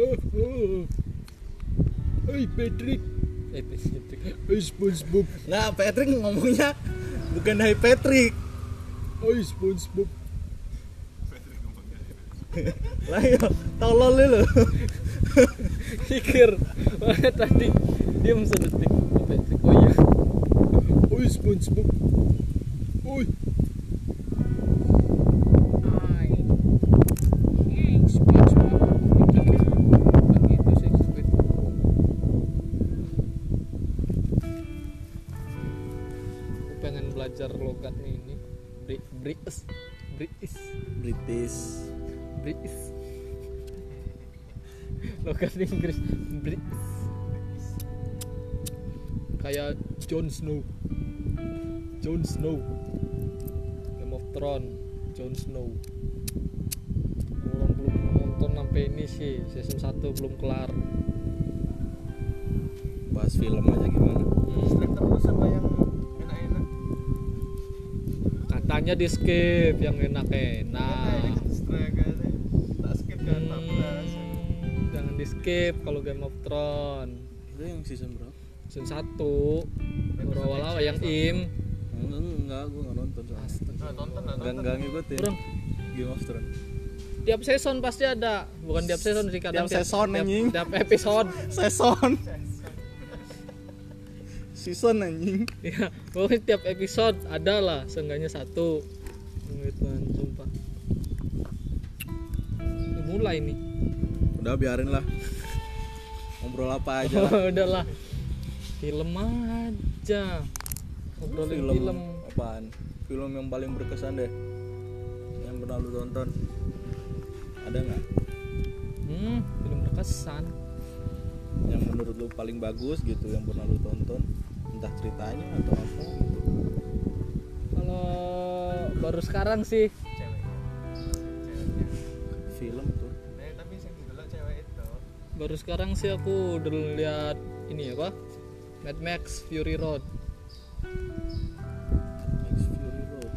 Oh, Hey Patrick, Eh, Patrick. hey SpongeBob, Nah, Patrick ngomongnya bukan Hai Patrick. hey SpongeBob. Lah ya, tolol lu. Pikir Makanya tadi dia sedetik Oh Patrick oh iya Oi SpongeBob. Oi. Bukan gitu sih Squid Aku pengen belajar logatnya ini Bri British British British. British Logat Inggris British Kayak Jon Snow. Jon Snow. Game of Thrones Jon Snow belum belum nonton sampai ini sih season 1 belum kelar Bahas film aja gimana? Strip terus sama yang enak-enak. katanya di skip yang Nah, ini enak-enak kan strip kan. Tak skip kan, tak belas. Hmm, jangan di skip kalau Game of Thrones Itu yang season berapa? season 1 baru awal-awal yang im Enggak, enggak, gua enggak nonton soalnya. Nah, tonton lah, Enggak tonton. enggak ngikutin. Bro. Game of Thrones. tiap season pasti ada bukan tiap season sih kadang Tiap season, tiap, anjing. tiap episode Season. season anjing. ya pokoknya tiap episode ada lah seenggaknya satu gitu kan sumpah Ini mulai nih Udah biarin lah. Ngobrol apa aja lah. udahlah film aja ngobrolin film, film apaan film yang paling berkesan deh yang pernah lu tonton ada nggak hmm film berkesan yang menurut lu paling bagus gitu yang pernah lu tonton entah ceritanya atau apa gitu kalau baru sekarang sih Cewek. Ceweknya. film tuh Eh, tapi yang didelok cewek itu. baru sekarang sih aku udah lihat ini apa Mad Max Fury Road Max Fury Road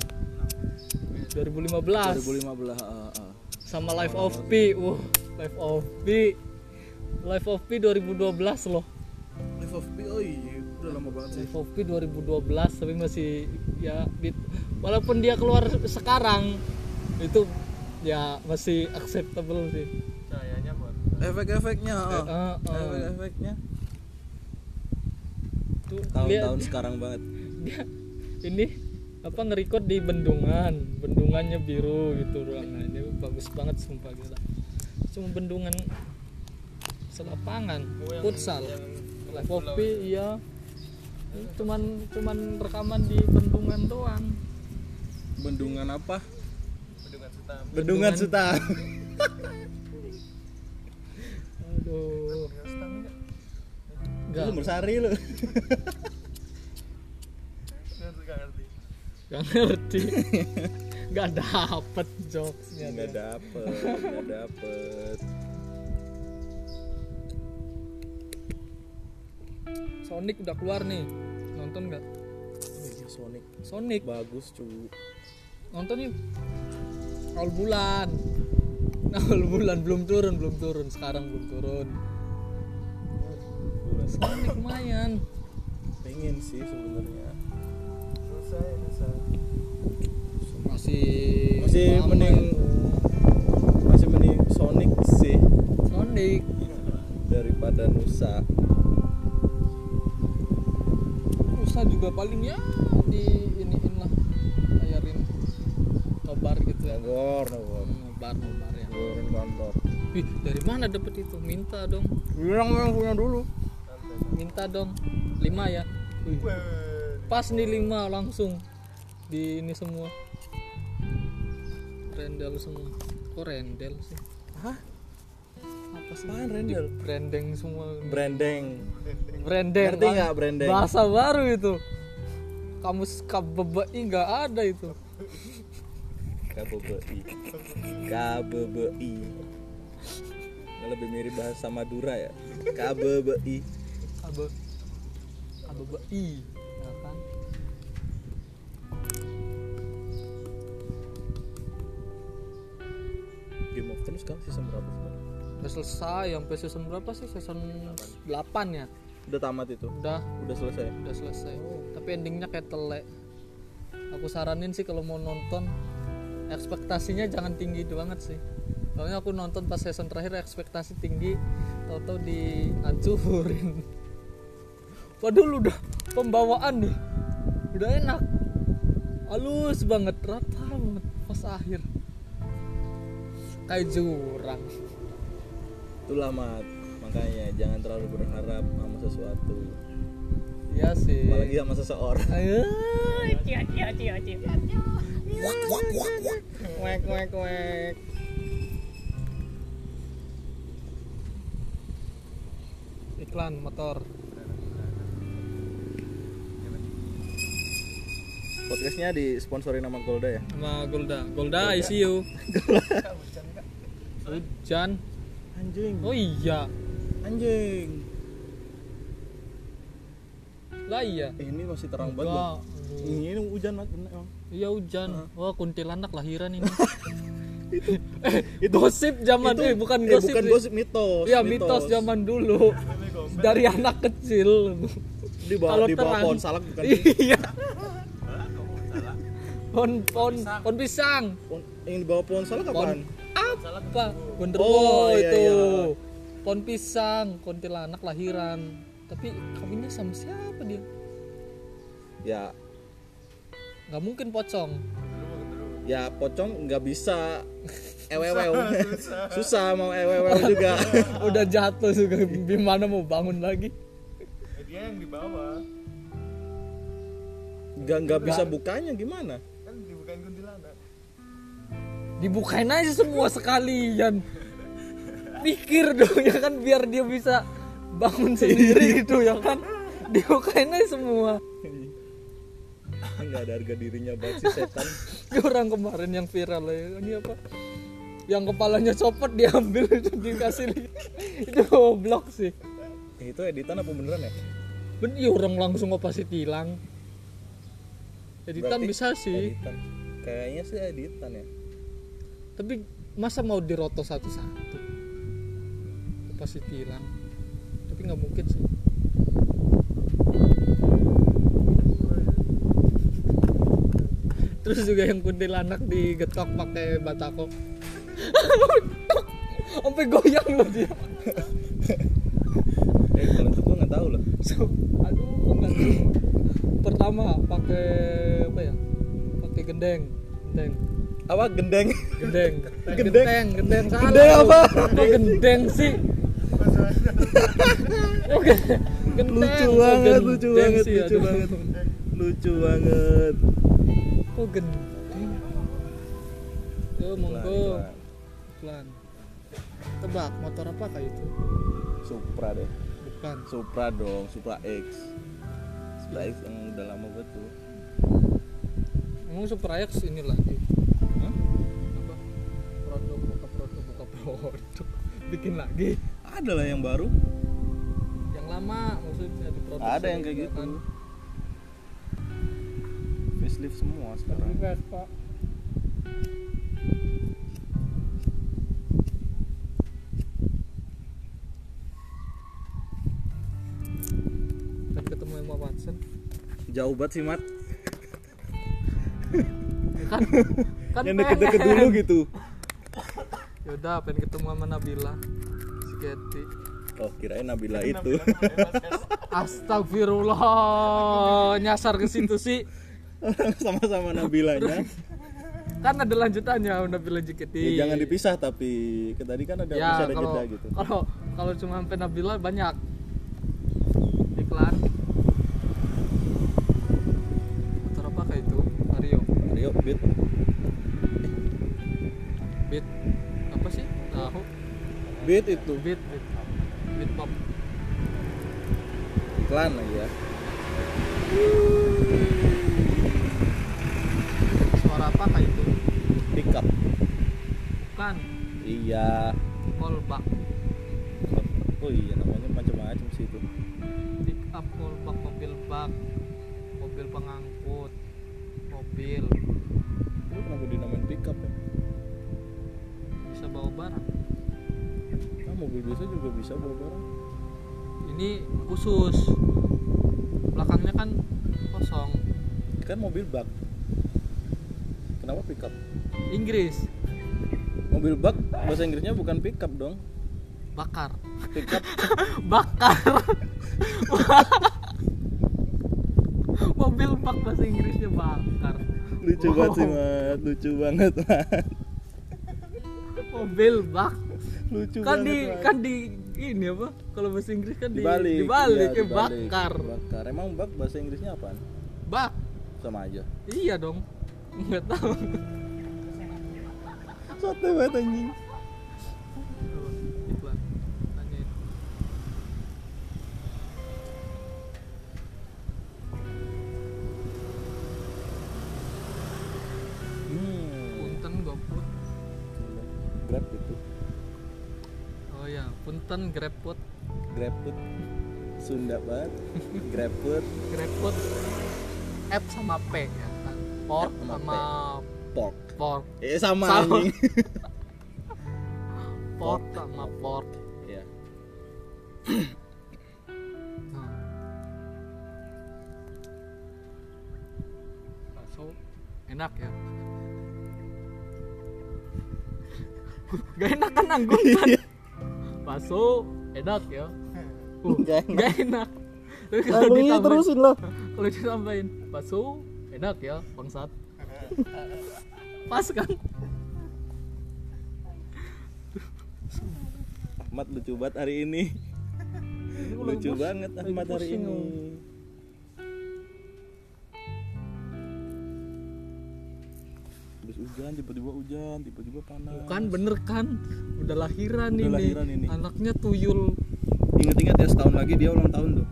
2015 2015 ah, ah, ah. sama Life of P wah Life of P Life of P 2012 loh Life of P oh iya udah lama banget sih Life of P 2012 tapi masih ya di- walaupun dia keluar sekarang itu ya masih acceptable sih Cahayanya buat. efek-efeknya ah. Eh, eh, eh. efek-efeknya Tuh, dia- tahun-tahun sekarang banget dia ini apa ngerekord di bendungan bendungannya biru gitu ruangannya bagus banget sumpah gila cuma bendungan selapangan Oh, futsal live kopi iya cuman cuman rekaman di bendungan doang bendungan apa Bendungan sutam. bendungan, Bendungan. suta aduh Bendungan sutam ini. lu gak bersari lu Enggak ngerti. gak ngerti gak dapet jokesnya nggak dia. dapet nggak dapet Sonic udah keluar nih nonton gak Oh iya, Sonic Sonic bagus cu nonton yuk awal bulan awal bulan belum turun belum turun sekarang belum turun Sonic lumayan pengen sih sebenarnya Susah, ya, susah. masih Masih lama ya. mending itu. masih mending Sonic sih Sonic daripada Nusa Nusa juga palingnya di iniin lah bayarin nobar gitu ya Nogor Nogor Hmm, nobar nobar ya Nogorin kantor Ih, dari mana dapet itu minta dong bilang yang punya dulu minta dong lima ya Weh. pas nih lima langsung di ini semua rendel semua kok rendel sih hah apa sih apaan Rendel branding semua brandeng branding ngerti ah. nggak brandeng bahasa baru itu kamus KBBI nggak ada itu KBBI KBBI Ini lebih mirip bahasa Madura ya KBBI KB KBBI ya kan sekarang season berapa sebenarnya? udah selesai sampai season berapa sih season 8 ya Udah tamat itu, udah udah selesai. udah selesai tapi endingnya kayak telek aku saranin sih kalau mau nonton ekspektasinya jangan tinggi banget sih soalnya aku nonton pas season terakhir ekspektasi tinggi tau-tau dihancurin padahal udah pembawaan nih udah enak halus banget rata banget pas akhir kayak jurang Itulah mat, makanya jangan terlalu berharap sama sesuatu, ya sih apalagi sama seseorang. Ayo, cia cia cia cia. Wek wek wek. Iklan motor. Podcastnya disponsori nama Golda ya. Sama Golda. Golda, I see you. Hujan. Anjing, Oh iya. anjing. Lah iya. Eh, ini masih terang banget. Enggak. Bang. Ini oh. hujan mat, bener emang. Iya hujan. Wah, kuntilanak lahiran ini. Itu- eh, gosip zaman Itu- eh bukan eh, gosip. bukan sih. gosip mitos. Iya mitos zaman dulu. Dari anak kecil. Di bawah Kalau di bawah terang. pohon salak bukan di- Iya. Pohon pohon pohon pisang. pohon- yang di bawah pohon salak Pohon apaan? apa? Oh, Gondrowo iya, itu. iya. Pohon pisang, kuntilanak lahiran. Tapi kawinnya sama siapa dia? Ya, Gak mungkin pocong. ya pocong nggak bisa ewewew susah mau ewewew juga Udah jatuh juga gimana mau bangun lagi? Eh, dia yang di bawah nggak nggak bisa bukanya gimana kan dibukain kuntilanak Dibukain aja semua sekalian. Pikir dong ya kan biar dia bisa bangun sendiri gitu ya kan. Dibukain aja semua. nggak ada harga dirinya banget sih setan Ini orang kemarin yang viral ya ini apa yang kepalanya copot diambil itu dikasih lihat. itu goblok sih Eh, itu editan apa beneran ya ben iya orang langsung operasi tilang editan Berarti bisa sih editan kayaknya sih editan ya tapi masa mau diroto satu-satu operasi tilang tapi nggak mungkin sih terus juga yang kuntilanak digetok pakai batako sampai goyang loh dia eh kalau itu gua nggak tahu loh So, aduh kok nggak tahu. pertama pakai apa ya pakai gendeng gendeng apa gendeng gendeng Gendeng. gendeng gendeng salah Gendeng lu. apa? kok gendeng sih Oke, gendeng lucu Kok banget gendeng lucu banget sih, lucu aduh. banget lucu banget kok gendeng tuh Nah, monggo Iklan, iklan. pelan tebak motor apa kayak itu Supra deh bukan Supra dong Supra X Supra X yang udah lama banget tuh emang Supra X ini lagi Hah? apa produk buka produk buka produk bikin lagi ada lah yang baru yang lama maksudnya diproduksi ada yang kayak juga gitu kan. facelift semua Tapi sekarang Vespa Kan ketemu Emma Watson jauh banget sih mat kan kan yang deket-deket dulu gitu yaudah pengen ketemu sama Nabila si Getty oh kirain Nabila itu Astagfirullah nyasar ke situ sih sama-sama Nabilanya kan ada lanjutannya Nabila JKT ya, jangan dipisah tapi ke tadi kan ada masih ya ada kalau jeda gitu kalau kalau cuma sampai Nabila banyak iklan motor apa kayak itu Vario Rio beat Beat apa sih tahu beat itu Beat Beat Beat pop iklan lagi ya suara apa kayak itu pickup bukan iya kolbak oh iya namanya macam-macam sih itu pick up kolbak mobil bak mobil pengangkut mobil lu kenapa dinamain pickup ya bisa bawa barang Kan mobil biasa juga bisa bawa barang ini khusus belakangnya kan kosong kan mobil bak kenapa pickup Inggris mobil bak bahasa Inggrisnya bukan pickup dong bakar pickup bakar mobil bak bahasa Inggrisnya bakar lucu banget sih Mat. lucu banget Mat. mobil bak lucu kan banget di Mat. kan di ini apa kalau bahasa Inggris kan di dibalik dibalik, iya, ya, bakar bakar emang bak bahasa Inggrisnya apaan bak sama aja iya dong nggak tahu sate banget anjing Iklan. Tanyain. hmm. punten goput grab itu oh ya punten grabpot grab food Sunda banget grab food grabpot F sama P ya kan pork F sama sama pork pork eh sama, Sama. anjing pork sama pork Iya. Nah. bakso enak ya gak enak kan nanggung kan Iya. bakso enak ya uh, Nggak gak enak, Tapi kalau Ngomongnya ditambahin- terusin loh kalau ditambahin bakso enak ya bangsat pas kan Ahmad lucu banget hari ini lucu banget Ahmad hari pusing, ini Habis hujan tiba-tiba hujan tiba-tiba panas bukan bener kan udah lahiran Udah ini, lahiran ini. anaknya tuyul ingat-ingat ya setahun lagi dia ulang tahun tuh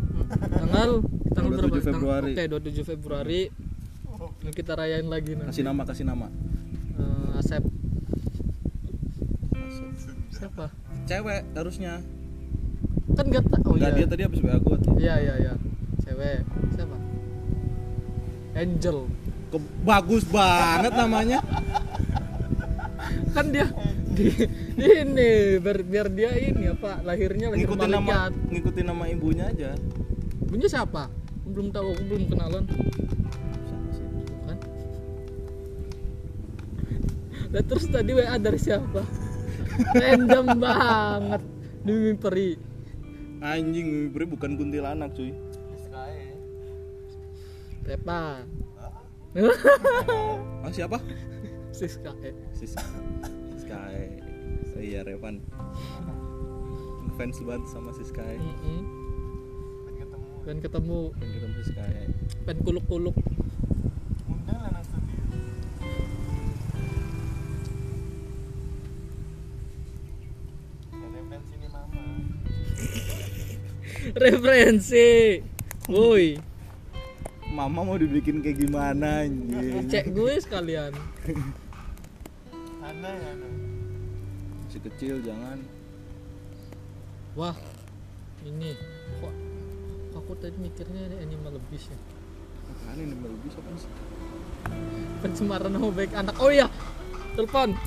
tanggal tanggal 27 berapa Tang- Februari. oke 27 Februari Ini kita rayain lagi nanti kasih nama kasih nama Eh, Asep siapa cewek harusnya kan gak tau oh, Enggak iya. dia tadi habis WA gua tuh iya iya iya cewek siapa Angel Ke- bagus banget namanya kan dia di, ini biar, biar dia ini apa lahirnya lahir ngikutin nama malaikat ngikutin nama ibunya aja punya siapa Aku belum tahu aku belum kenalan Sama sih. kan Lah terus tadi WA dari siapa random banget demi peri anjing Mimi Pri bukan kuntilanak cuy Repa ah siapa Siska eh. Sis Sky oh, iya Revan fans banget sama si Sky Mm-mm. Pengen ketemu pengen ketemu pengen ketemu si Sky pengen kuluk-kuluk undang lah nang studio Ada referensi nih mama referensi woi mama mau dibikin kayak gimana anjing cek gue sekalian Ana ya Ana si kecil jangan wah ini kok aku tadi mikirnya ini animal lebih ya apaan ini baru bisa kan sih pencemaran nama baik anak oh iya telepon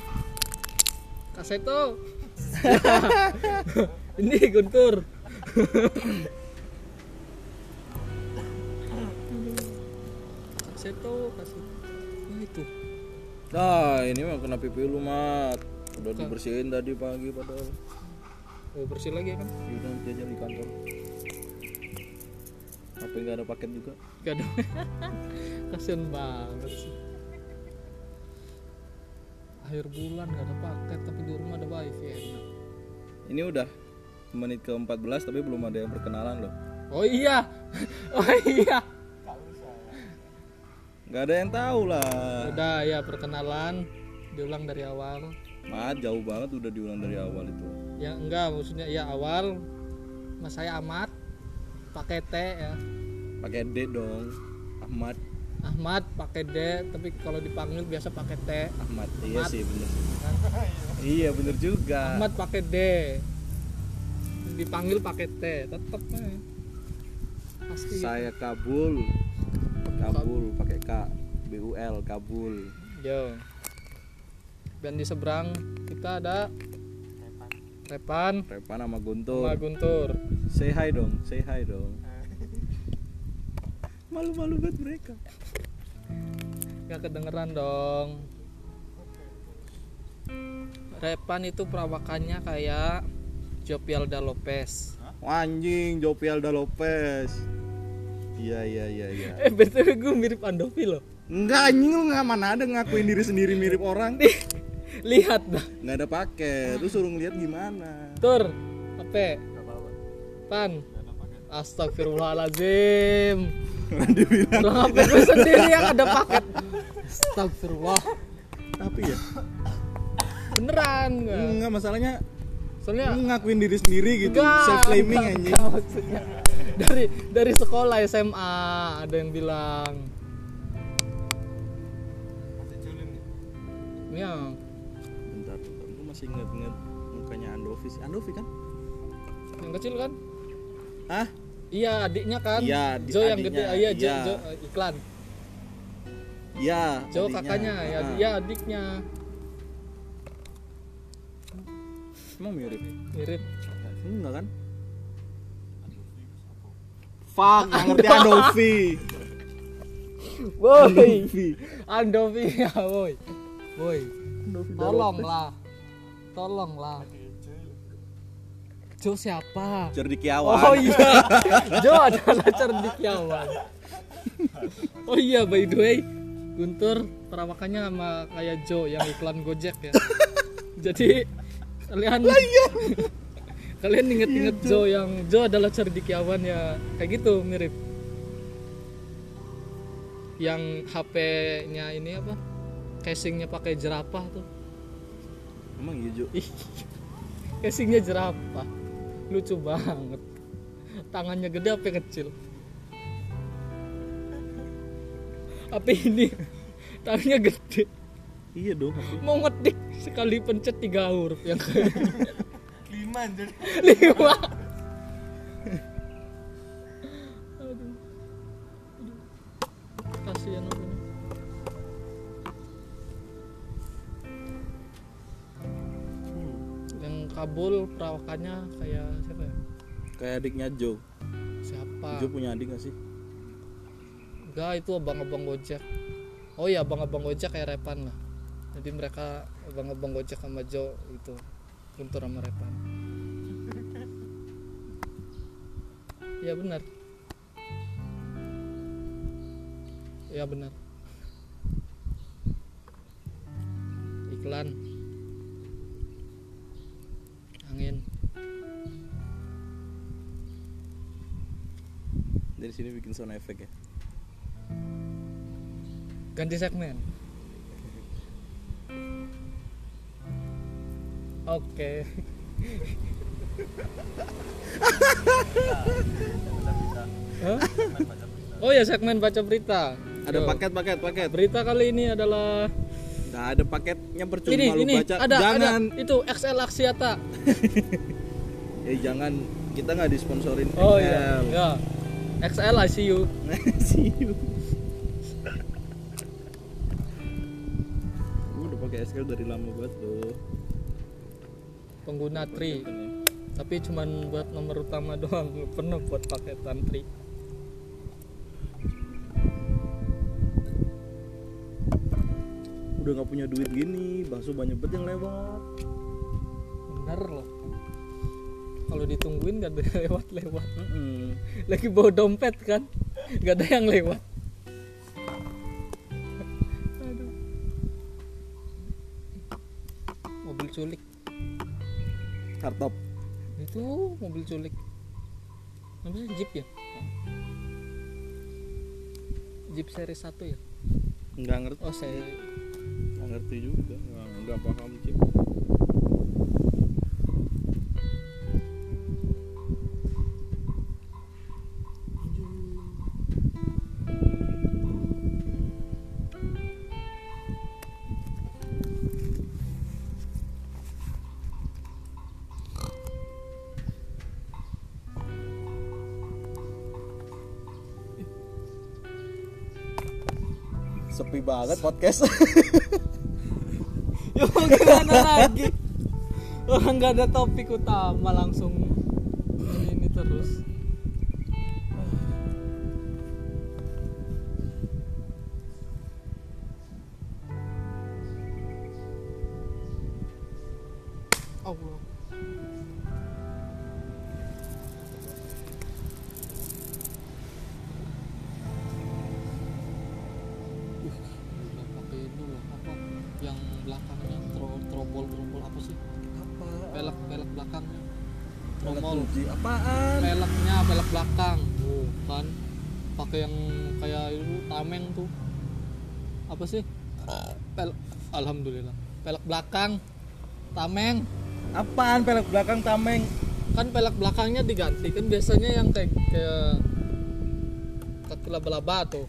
Kak Seto ini Guntur Kak Seto Kak Seto nah itu nah ini mah kena pipi lu mat udah Bukan. dibersihin tadi pagi padahal oh, bersih lagi kan yaudah Ya nanti aja di kantor HP nggak ada paket juga gak ada kasian banget sih akhir bulan gak ada paket tapi di rumah ada wifi enak ini udah menit ke 14 tapi belum ada yang perkenalan loh oh iya oh iya nggak ada yang tahu lah udah ya perkenalan diulang dari awal Mat jauh banget udah diulang dari awal itu. ya enggak maksudnya ya awal mas saya Ahmad pakai T ya Pakai D dong. Ahmad, Ahmad pakai D tapi kalau dipanggil biasa pakai T Ahmad. Iya Ahmad. sih bener. iya bener juga. Ahmad pakai D dipanggil pakai T tetep aja. pasti gitu. Saya Kabul. Kabul pakai K. B U L Kabul. yo dan di seberang kita ada Repan Repan sama Guntur. sama Guntur Say hi dong, say hi dong. Malu-malu banget mereka. nggak kedengeran dong Repan itu perawakannya kayak Jopialda Lopez Anjing, Jopialda Lopez. Iya iya iya iya. eh btw gue mirip Andovi loh Enggak anjing lu nggak mana ada ngakuin diri sendiri mirip orang. lihat dah Nggak ada pakai, lu suruh ngeliat gimana. Tur apa Pan Astagfirullahalazim Dia bilang, Orang apa gue sendiri yang ada paket Astagfirullah tapi ya Beneran gue enggak masalahnya Soalnya lu ngakuin diri sendiri gitu, Enggak, self claiming enggak, anjing. enggak, maksudnya dari dari sekolah SMA ada yang bilang Masih culin nih. ya Bentar, bentar, lu masih inget-inget mukanya Andovi sih. Andovi kan? yang kecil kan Hah? iya adiknya kan Iya, adik- Jo yang gede adiknya, ah, iya Jo, iya. Jo, eh, iklan Ya, Jo adiknya. kakaknya ya, Ah. ya adiknya Emang mirip? mirip Enggak kan? Fuck, gak ngerti Adovi. woi Andovi ya woi woi tolonglah tolonglah Jo siapa Cerdikiawan. Oh iya, Jo adalah cendekiawan. Oh iya, by the way, Guntur perawakannya sama kayak Jo yang iklan Gojek ya. Jadi kalian kalian inget-inget Jo yang Jo adalah cendekiawan ya kayak gitu mirip. Yang HP-nya ini apa? Casingnya pakai jerapah tuh. Emang iya, Jo? Ih, casingnya jerapah lucu banget tangannya gede apa yang kecil apa ini tangannya gede Iya dong. aku. mau ngetik sekali pencet tiga huruf yang Lima jadi. lima Aduh. Aduh. kasihan orangnya. yang Kabul perawakannya kayak siapa ya? Kayak adiknya Jo. Siapa? Jo punya adik gak sih? Enggak, itu abang-abang Gojek. Oh iya, abang-abang Gojek kayak Repan lah. Jadi mereka abang-abang Gojek sama Jo itu. Guntur sama Repan. Iya benar. Iya benar. Iklan. Angin. Dari sini bikin sound effect ya. ganti segmen oke Hah? oh ya segmen baca berita Ada Yo. paket, paket, paket. berita kali ini adalah Nah, ada paketnya percuma ini lu ini baca. ada jangan. ada itu XL Aksiata Eh, jangan. Kita nggak disponsorin. oh XL. iya ya XL ICU See you. Gua udah pakai SL dari lama banget loh. pengguna tri tapi cuman buat nomor utama doang nggak pernah buat paketan tri Udah nggak punya duit gini, bakso banyak banget yang lewat. bener loh kalau ditungguin gak ada yang lewat-lewat Mm-mm. lagi bawa dompet kan gak ada yang lewat Aduh. mobil culik Hardtop. itu mobil culik mobil jeep ya jeep seri 1 ya Nggak ngerti. oh seri Nggak ngerti juga. Nggak, nggak paham sih. Sepi banget podcast. ya mau gimana lagi orang nggak ada topik utama langsung ini, ini terus Allah Yang pakai itu loh apa yang belakangnya tro- trobol trobol apa sih apa pelek pelek belakangnya Alat tromol kunci. apaan peleknya pelek belakang tuh kan pakai yang kayak itu tameng tuh apa sih pelek alhamdulillah pelek belakang tameng apaan pelek belakang tameng kan pelek belakangnya diganti kan biasanya yang kayak kayak kaki laba-laba tuh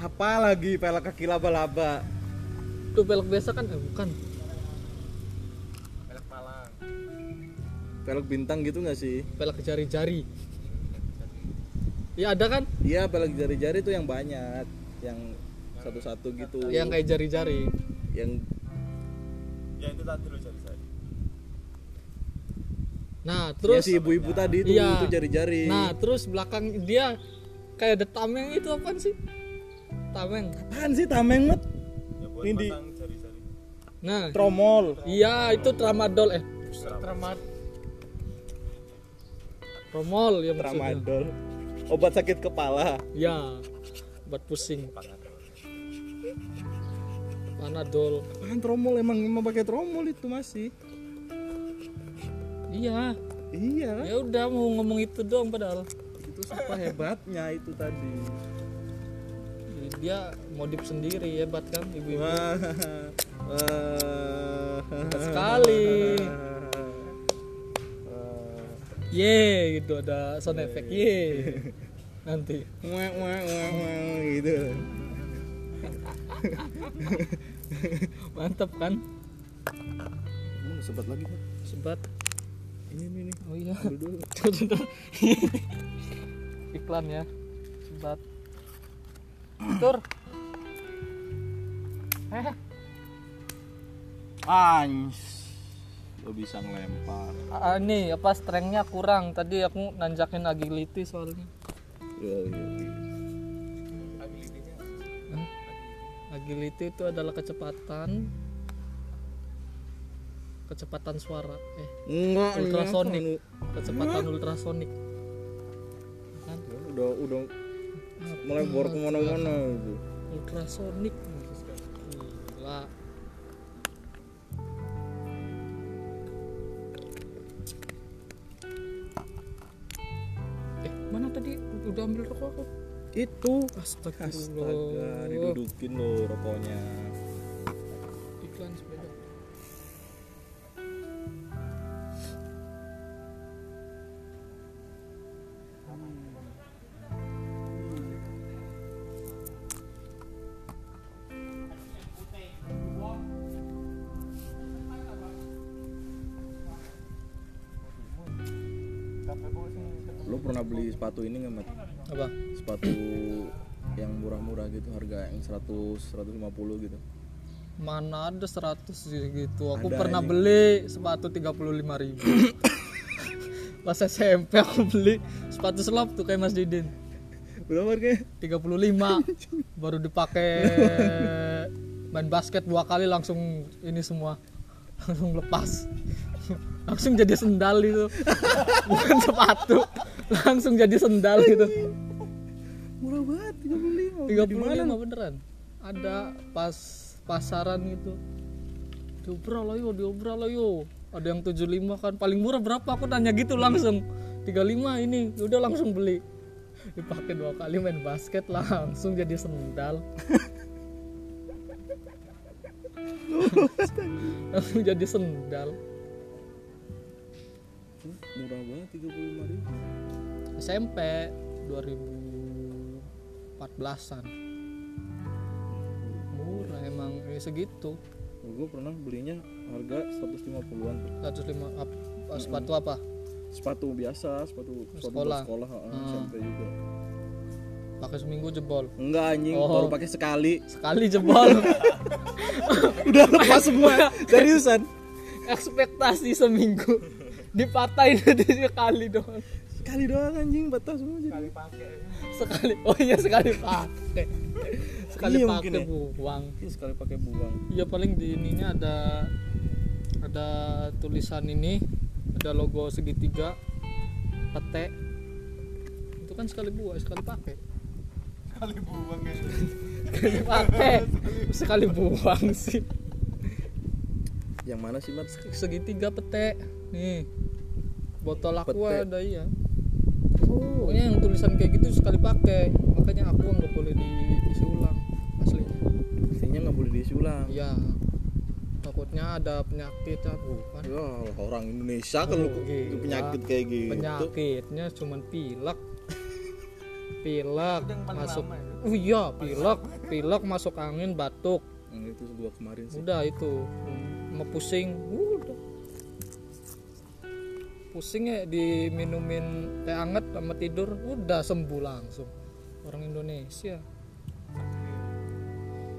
apa lagi pelek kaki laba-laba tuh pelek biasa kan eh, bukan Pelek palang. pelek bintang gitu nggak sih pelek jari-jari ya ada kan iya pelek jari-jari tuh yang banyak yang satu-satu gitu yang kayak jari-jari yang Ya itu tadi lo cari saya. nah terus terus ya si ibu-ibu tadi itu Iya. itu jari-jari Nah, terus belakang dia kayak ada tameng itu apaan sih? Tameng. apaan sih tameng met Ya buat Ini di- pasang jari-jari. Nah, tromol iya itu tramadol eh Teramat. romol ya maksudnya. tramadol obat sakit kepala Ya. Buat pusing. Panadol. apaan tromol emang emang pakai tromol itu masih Iya. iya Ya udah mau ngomong itu doang padahal. itu apa hebatnya itu tadi Dia modif sendiri hebat kan ibu-ibu. wah wah Sekali. Ye gitu ada sound effect. Ye. Nanti. Wah, wah, wah, wah, gitu Mantap kan? Hmm, sebat lagi Pak. Sebat. ini ini ini Oh iya. ambil dulu Tuh, tuh, tuh. iklan ya sebat tur eh anj lo bisa ngelempar ah, ini apa strengthnya kurang tadi aku nanjakin agility soalnya Yo, yo, yo. Hah? agility itu adalah kecepatan kecepatan suara eh Enggak, Ultrasonik. enggak. kecepatan ultrasonik kan udah udah mulai bor kemana-mana gitu. ultrasonik gila eh mana tadi udah ambil rokok aku itu astaga astagfirullah didudukin lo rokoknya iklan sepeda lo pernah beli sepatu ini nggak Mat? apa sepatu yang murah-murah gitu harga yang 100 150 gitu mana ada 100 gitu aku Ada pernah anjing. beli sepatu 35.000 ribu pas SMP aku beli sepatu selop tuh kayak Mas Didin berapa harganya 35 baru dipakai main basket dua kali langsung ini semua langsung lepas langsung jadi sendal itu bukan sepatu langsung jadi sendal gitu. itu murah banget 35 35 beneran ada pas pasaran gitu diobrol lo yo diobrol lo yo ada yang 75 kan paling murah berapa aku tanya gitu langsung 35 ini ya udah langsung beli dipakai dua kali main basket langsung jadi sendal langsung jadi sendal murah banget 35 ribu SMP 2014an murah emang ya segitu gue pernah belinya harga 150-an tuh. 105 ap, sepatu apa? sepatu biasa sepatu sepatu Sekolah. buat sekolah Ah. heeh, Hmm. SMP juga Pakai seminggu jebol. enggak anjing Oh. baru pakai sekali Sekali jebol. udah lepas semua seriusan ekspektasi seminggu dipatahin aja sekali doang Sekali doang anjing batas semua jadi. Kali pakai. sekali oh iya sekali pakai sekali Iya, mungkin pakai ya. buang Ini sekali pakai buang. ya paling di ininya ada ada tulisan ini ada logo segitiga pete itu kan sekali buang sekali pakai Kali buang ya. sekali pakai sekali buang sih Yang mana sih, Mat? segitiga pete nih botol aku Pete. ada iya pokoknya yang tulisan kayak gitu sekali pakai makanya aku nggak boleh diisi ulang aslinya Artinya nggak boleh diisi ulang. iya takutnya ada penyakit aku kan Ya, orang Indonesia kalau Oh, gila. penyakit kayak gitu. penyakitnya cuman pilek pilek Itu yang paling masuk lama ya? oh iya pilek pilek masuk angin batuk Yang itu gua kemarin sih. udah itu mau pusing udah pusing ya diminumin teh anget sama tidur udah sembuh langsung orang Indonesia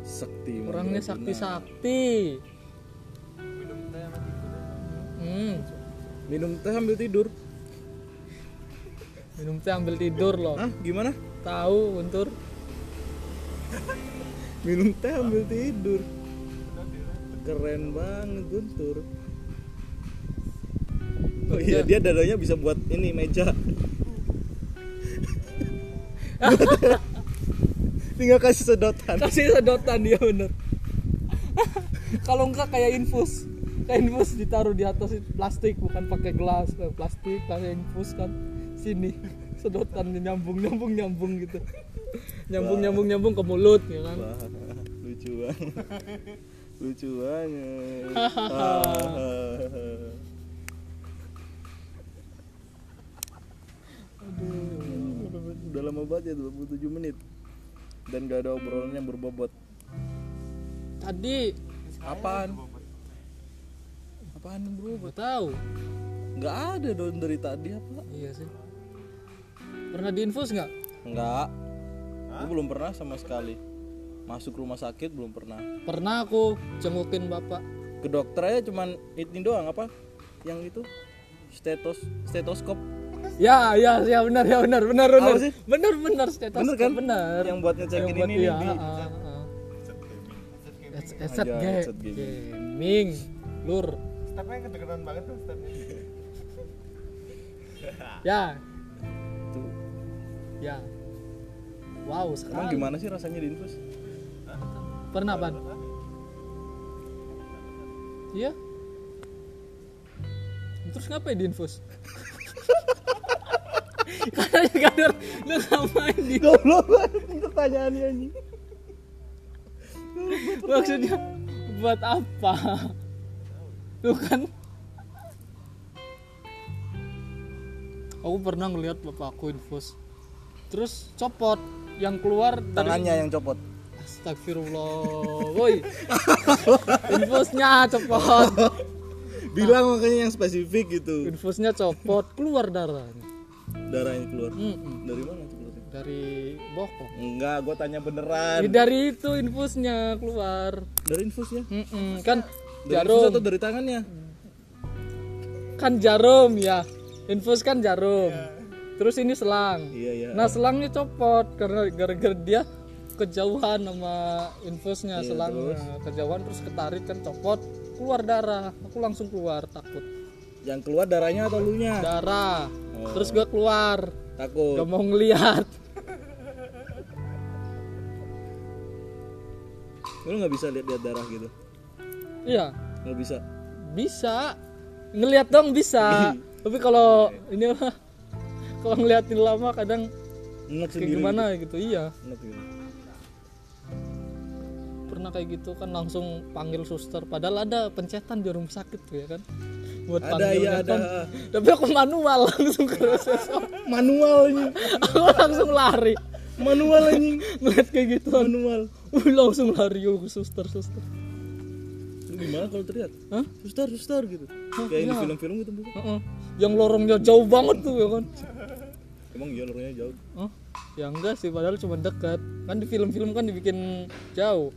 Sakti. orangnya Mandraguna. sakti sakti Minum teh sama tidur. hmm. Minum teh ambil tidur. minum teh ambil tidur loh Hah, gimana? tahu untur Minum teh ambil tidur. Keren banget Guntur. Oh iya, dia dadanya bisa buat ini meja. Tinggal kasih sedotan. kasih sedotan dia bener kalau enggak kayak infus kayak infus ditaruh di atas itu plastik bukan pakai gelas Nah, plastik pakai infus kan sini sedotan nyambung nyambung nyambung gitu nyambung nyambung nyambung ke mulut ya kan Wah, lucu banget. Lucu banget. Hahaha. Udah lama banget ya 27 menit Dan gak ada obrolan yang berbobot tadi Apaan? Apaan yang berbobot? gue tahu Gak ada dong dari tadi apa? iya sih pernah diinfus nggak Enggak Gue belum pernah sama sekali Masuk rumah sakit belum pernah pernah aku jengukin bapak Ke dokter aja cuman ini doang apa? Yang itu stetos stetoskop ya ya ya benar ya benar benar benar Apa sih? benar benar status Bener kan? benar yang buat Yang ngecekin buat- ini iya, nih, di- ah, ah, ah. Headset headset Aja, ga- headset gaming. Iya, gaming. Lur. Stepnya kedengeran banget tuh stepnya. Ah. Ya, Tuh. ya. Wow, Emang sekarang gimana sih rasanya di infus? Pernah, Ban? Iya. Terus ngapain di infus? Karena juga ada- lu ngapain di Goblok banget pertanyaannya anjing. maksudnya buat apa? Lu kan Aku pernah ngeliat bapakku infus. Terus copot yang keluar dari Tangannya yang copot. Astagfirullah, woi. Infusnya copot, Bilang makanya yang spesifik gitu. infusnya copot, keluar darahnya Darah yang keluar. Mm-mm. Dari mana copotnya? dari bokong. Enggak, gua tanya Ini beneran. dari itu infusnya keluar. Dari infusnya? Mm-mm, Kan Dari infus atau jarum, dari tangannya? kan jarum ya. Infus kan jarum. Terus ini selang. Iya, iya. Nah selangnya copot karena gara-gara dia kejauhan sama infusnya Iya, selangnya Nah, kejauhan terus ketarik kan copot keluar darah aku langsung keluar takut Yang keluar darahnya atau lunya? darah Oh. terus gue keluar Takut. gak mau ngeliat Lu nggak bisa lihat-lihat darah gitu. iya Nggak bisa. bisa ngeliat dong bisa tapi kalau ini mah kalau ngeliatin lama kadang kayak Enak sendiri. gimana gitu iya Enak gitu. pernah kayak gitu kan langsung panggil suster padahal ada pencetan di rumah sakit tuh ya kan buat Ada, panggil iya, kan. ada. tapi aku manual langsung ke resepsionis. Ah, Manual anjing. aku langsung lari Manual anjing. ngeliat kayak gituan Manual. Wih, langsung lari yuk suster suster Lu gimana kalau teriak? Hah? Suster, suster gitu. Kayak iya. di film-film gitu bukan? Heeh. yang lorongnya jauh banget tuh ya kan Emang iya lorongnya jauh. Oh, ya enggak sih padahal cuma dekat. Kan di film-film kan dibikin jauh.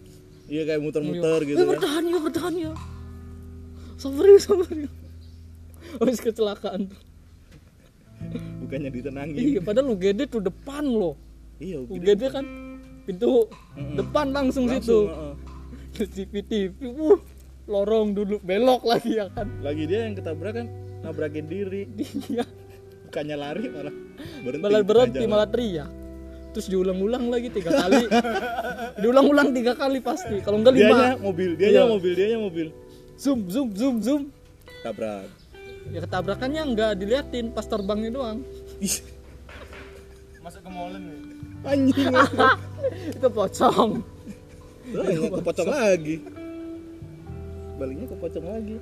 Iya kayak muter-muter Iya. gitu Eh, kan. bertahan ya, bertahan ya. sabar yuk sabar yuk habis kecelakaan tuh bukannya ditenangin iya padahal UGD tuh depan loh iya UGD kan pintu Mm-mm. depan langsung, situ langsung, uh-uh. heeh. terus CCTV wuh uh, lorong dulu belok lagi ya kan lagi dia yang ketabrak kan nabrakin diri dia bukannya lari malah malah berhenti di tengah berhenti jalan. malah teriak terus diulang-ulang lagi tiga kali diulang-ulang tiga kali pasti kalau enggak dianya lima mobil dianya Iya. mobil dianya mobil zoom zoom zoom zoom tabrak ya ketabrakannya enggak diliatin pas terbangnya doang Ih, Masuk ke molen ya. anjing lah itu pocong yang Eh, kepocong lagi baliknya kepocong lagi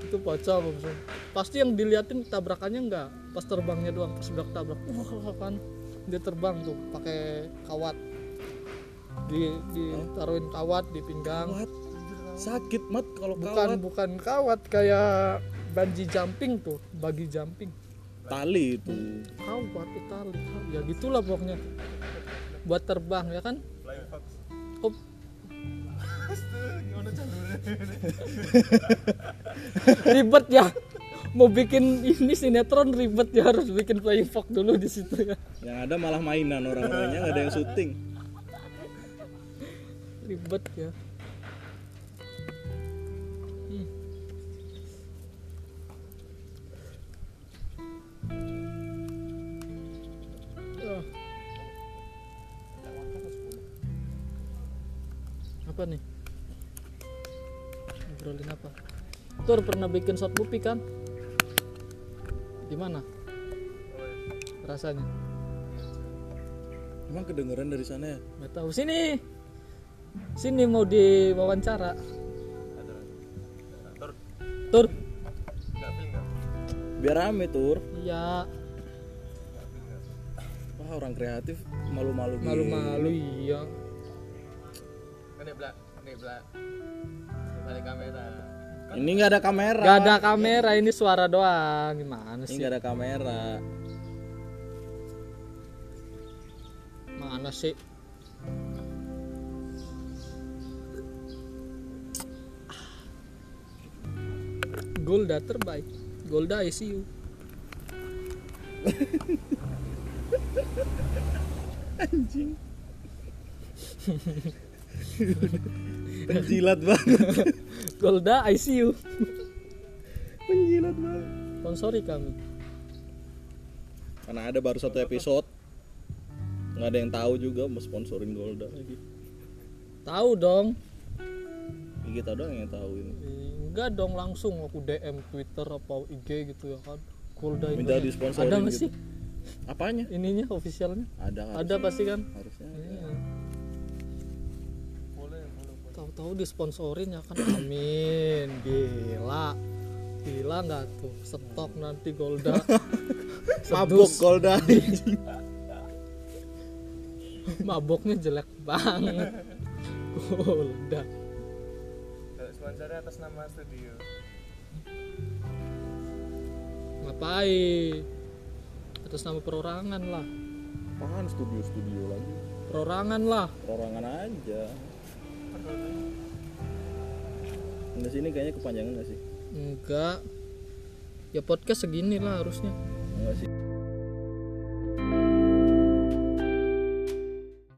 itu pocong Om Zoom. pasti yang diliatin tabrakannya enggak pas terbangnya doang pas udah ketabrak wah kan dia terbang tuh pakai kawat di ditaruhin kawat di pinggang Mat, sakit mat kalau bukan kawat bukan kawat kayak banji jumping tuh bagi jumping tali itu kawat itali ya gitulah pokoknya buat terbang ya kan Fly fox. oh Astaga, gimana jalurnya? ribet ya mau bikin ini sinetron ribet ya harus bikin playing fox dulu di situ ya yang ada malah mainan orang-orangnya nggak ada yang syuting ribet ya Hmm. Ah, apa nih ngobrolin apa tur pernah bikin shot pupi kan gimana rasanya emang kedengeran dari sana ya nggak tahu sini sini mau diwawancara tur biar rame tur iya wah orang kreatif malu-malu gitu. malu-malu iya Ini belak, ini belak. Balik kamera. ini nggak ada kamera nggak ada kamera ini suara doang gimana ini sih nggak ada kamera mana sih Golda terbaik Golda ICU penjilat banget Golda ICU penjilat banget sponsori kami karena ada baru satu episode nggak ada yang tahu juga mau sponsorin Golda lagi tahu dong Ya, kita doang yang tahu ini enggak dong langsung aku DM Twitter apa IG gitu ya kan Golda Hmm, minta Indonesia. disponsorin ada nggak gitu. sih apanya ininya officialnya ada ada pasti kan harusnya Iya. Boleh, boleh. tahu-tahu disponsorin ya kan amin gila gila nggak tuh stok nanti Golda mabuk Sedus. Golda maboknya jelek banget Golda Kalau sponsornya atas nama studio. ngapain atas nama perorangan lah apaan studio studio lagi perorangan lah perorangan aja Nggak sih ini kayaknya kepanjangan nggak sih enggak ya podcast segini lah harusnya nggak sih